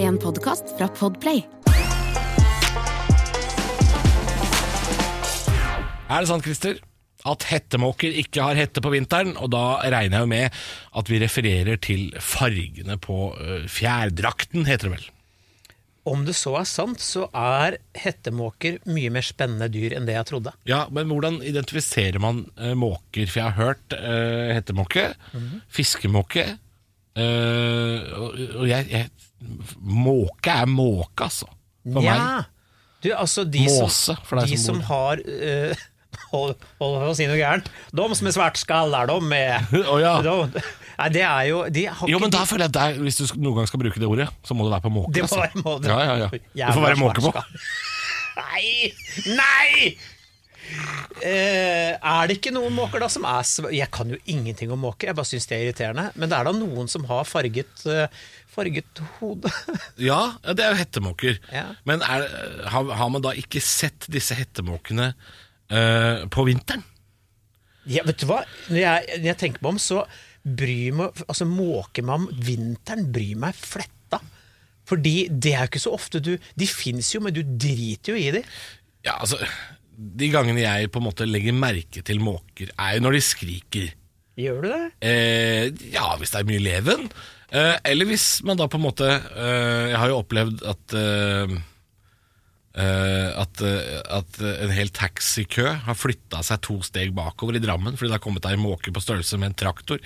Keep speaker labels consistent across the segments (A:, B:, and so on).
A: en podkast fra Podplay.
B: Er det sant, Christer? At hettemåker ikke har hette på vinteren, og da regner jeg jo med at vi refererer til fargene på eh, fjærdrakten, heter det vel.
C: Om det så er sant, så er hettemåker mye mer spennende dyr enn det jeg trodde.
B: Ja, men hvordan identifiserer man eh, måker? For jeg har hørt eh, hettemåke,
C: Mhm.
B: fiskemåke eh, og, og jeg, jeg Måke er måke, altså. For meg.
C: Nja. Du, altså, de
B: Måse,
C: som,
B: for deg
C: de
B: som
C: som,
B: bor.
C: har eh, Hold hold på å si noe gærent. De som er svartskall, er de med.
B: Å, ja.
C: de, nei, det er jo de har
B: Jo,
C: ikke
B: men da
C: de-
B: føler jeg at det er- hvis du sk- noen gang skal bruke det ordet, så må det være på måke.
C: Det må
B: altså.
C: være måte.
B: Ja, ja, ja. Det får
C: Jævla
B: være måke på.
C: svartskall. Nei! Nei! Eh, er det ikke noen måker da som er sv- Jeg kan jo ingenting om måker, jeg bare syns det er irriterende. Men det er da noen som har farget, eh, farget hode.
B: Ja, ja, det er jo hettemåker.
C: Ja.
B: Men er, eh, har, har man da ikke sett disse hettemåkene eh, på vinteren?
C: Ja, vet du hva? Når jeg, når jeg tenker meg om, så bryr meg Altså, måker meg om vinteren, bryr meg fletta. Fordi det er jo ikke så ofte du De fins jo, men du driter jo i dem.
B: Ja, altså De gangene jeg på en måte legger merke til måker, er jo når de skriker.
C: Gjør du det?
B: Eh, ja, hvis det er mye leven. Eh, eller hvis man da på en måte eh, Jeg har jo opplevd at eh, eh, at, eh, at en hel taxikø har flytta seg to steg bakover i Drammen fordi det har kommet ei måke på størrelse med en traktor.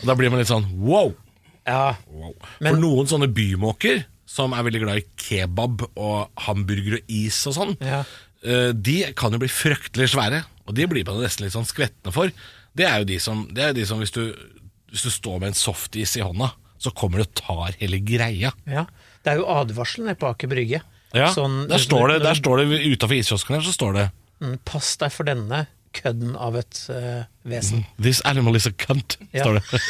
B: Og Da blir man litt sånn wow!
C: Ja.
B: Wow.
C: Men-
B: For noen sånne bymåker som er veldig glad i kebab og hamburger og is og sånn,
C: Ja.
B: eh, de kan jo bli fryktelig svære, og de blir man nesten litt sånn skvettende for. Det er jo de som, det er jo de som hvis, du, hvis du står med en softis i hånda, så kommer du og tar hele greia.
C: Ja, Det er jo advarselen nede på Aker Brygge. Sånn-
B: der står det, der står det utafor iskiosken her, så står det
C: Mm, Pass deg for denne kødden av et eh, vesen.
B: This animal is a cunt,
C: Ja.
B: står det.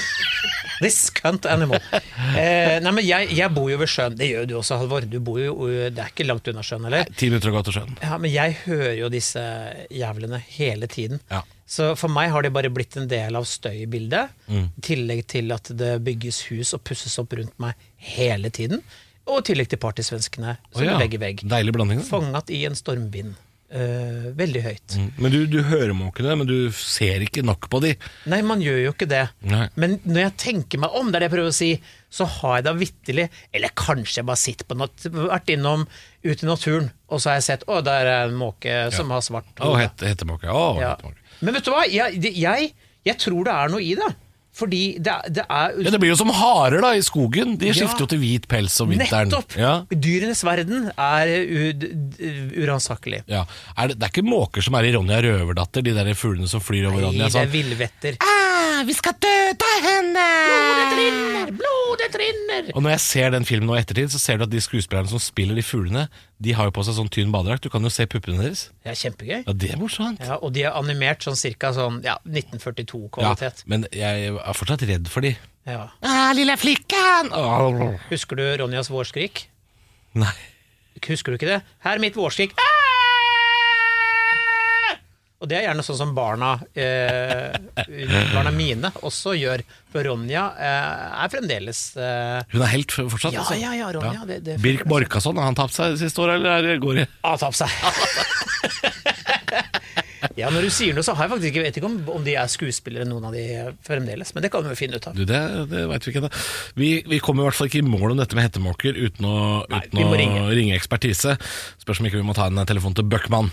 C: This cunt animal. Eh, nei, men jeg, jeg bor jo ved sjøen. Det gjør du også, Halvor. Du bor jo, eh, det er ikke langt unna sjøen, eller?
B: Ti minutter å gå til sjøen.
C: Ja, Men jeg hører jo disse jævlene hele tiden.
B: Ja.
C: Så for meg har det bare blitt en del av støybildet.
B: Mm.
C: I tillegg til at det bygges hus og pusses opp rundt meg hele tiden. Og i tillegg til partysvenskene, som
B: Å ja,
C: er vegg i vegg.
B: Deilig blanding. da.
C: Fanget i en stormvind. Eh, veldig høyt.
B: Mm. Men du, du hører måkene, men du ser ikke nok på de.
C: Nei, man gjør jo ikke det.
B: Nei.
C: Men når jeg tenker meg om, det er det jeg prøver å si, så har jeg da vitterlig Eller kanskje jeg bare sitter på nat vært innom ute i naturen, og så har jeg sett Å, der er en måke som har svart
B: Å, het, hettemåke. Å,
C: Ja.
B: hettemåke.
C: Men vet du hva, jeg, det- jeg, jeg tror det er noe i det. Fordi det, er- det er
B: Ja, Det blir jo som harer da i skogen. De
C: Ja.
B: skifter jo til hvit pels om vinteren.
C: Nettopp!
B: Ja.
C: Dyrenes verden er u- d- d- uransakelig.
B: Ja. Er det, det er ikke måker som er i Ronja Røverdatter, de der fuglene som flyr over
C: Nei,
B: Ronja.
C: det er
B: Sånn.
C: villvetter.
B: Ah, vi skal døde henne!
C: Blodet trinner! Blodet trinner!
B: Og når jeg ser den filmen nå i ettertid, så ser du at de skuespillerne som spiller de fuglene, de har jo på seg sånn tynn badedrakt. Du kan jo se puppene deres.
C: Det er kjempegøy.
B: Ja, det er morsomt.
C: Ja, og de er animert sånn cirka sånn ja,
B: Ja,
C: 1942-kvalitet.
B: men jeg er fortsatt redd for de.
C: Ja.
B: Ah, lille flikken! Ah,
C: Husker du Ronjas vårskrik?
B: nei.
C: Husker du ikke det? Her er mitt vårskrik. Ah! Og det er gjerne sånn som barna, eh, barna mine også gjør. For Ronja eh, er fremdeles eh,
B: Hun er helt f- fortsatt,
C: Ja,
B: altså.
C: ja, ja, Ronja. Det, det
B: Birk Borkason, har han tapt seg det siste året, eller er det- går det?
C: Ah, tapp seg. ja, når du sier noe, så har jeg faktisk ikke, jeg vet ikke om, om de er skuespillere, noen av de fremdeles. Men det kan vi jo finne ut av.
B: Du, det, det vet vi ikke ennå. Vi, vi kommer i hvert fall ikke i mål om dette med hettemåker uten å, uten
C: vi må
B: å ringe.
C: ringe.
B: ekspertise. Spørs om ikke vi må ta en telefon til Bøckmann.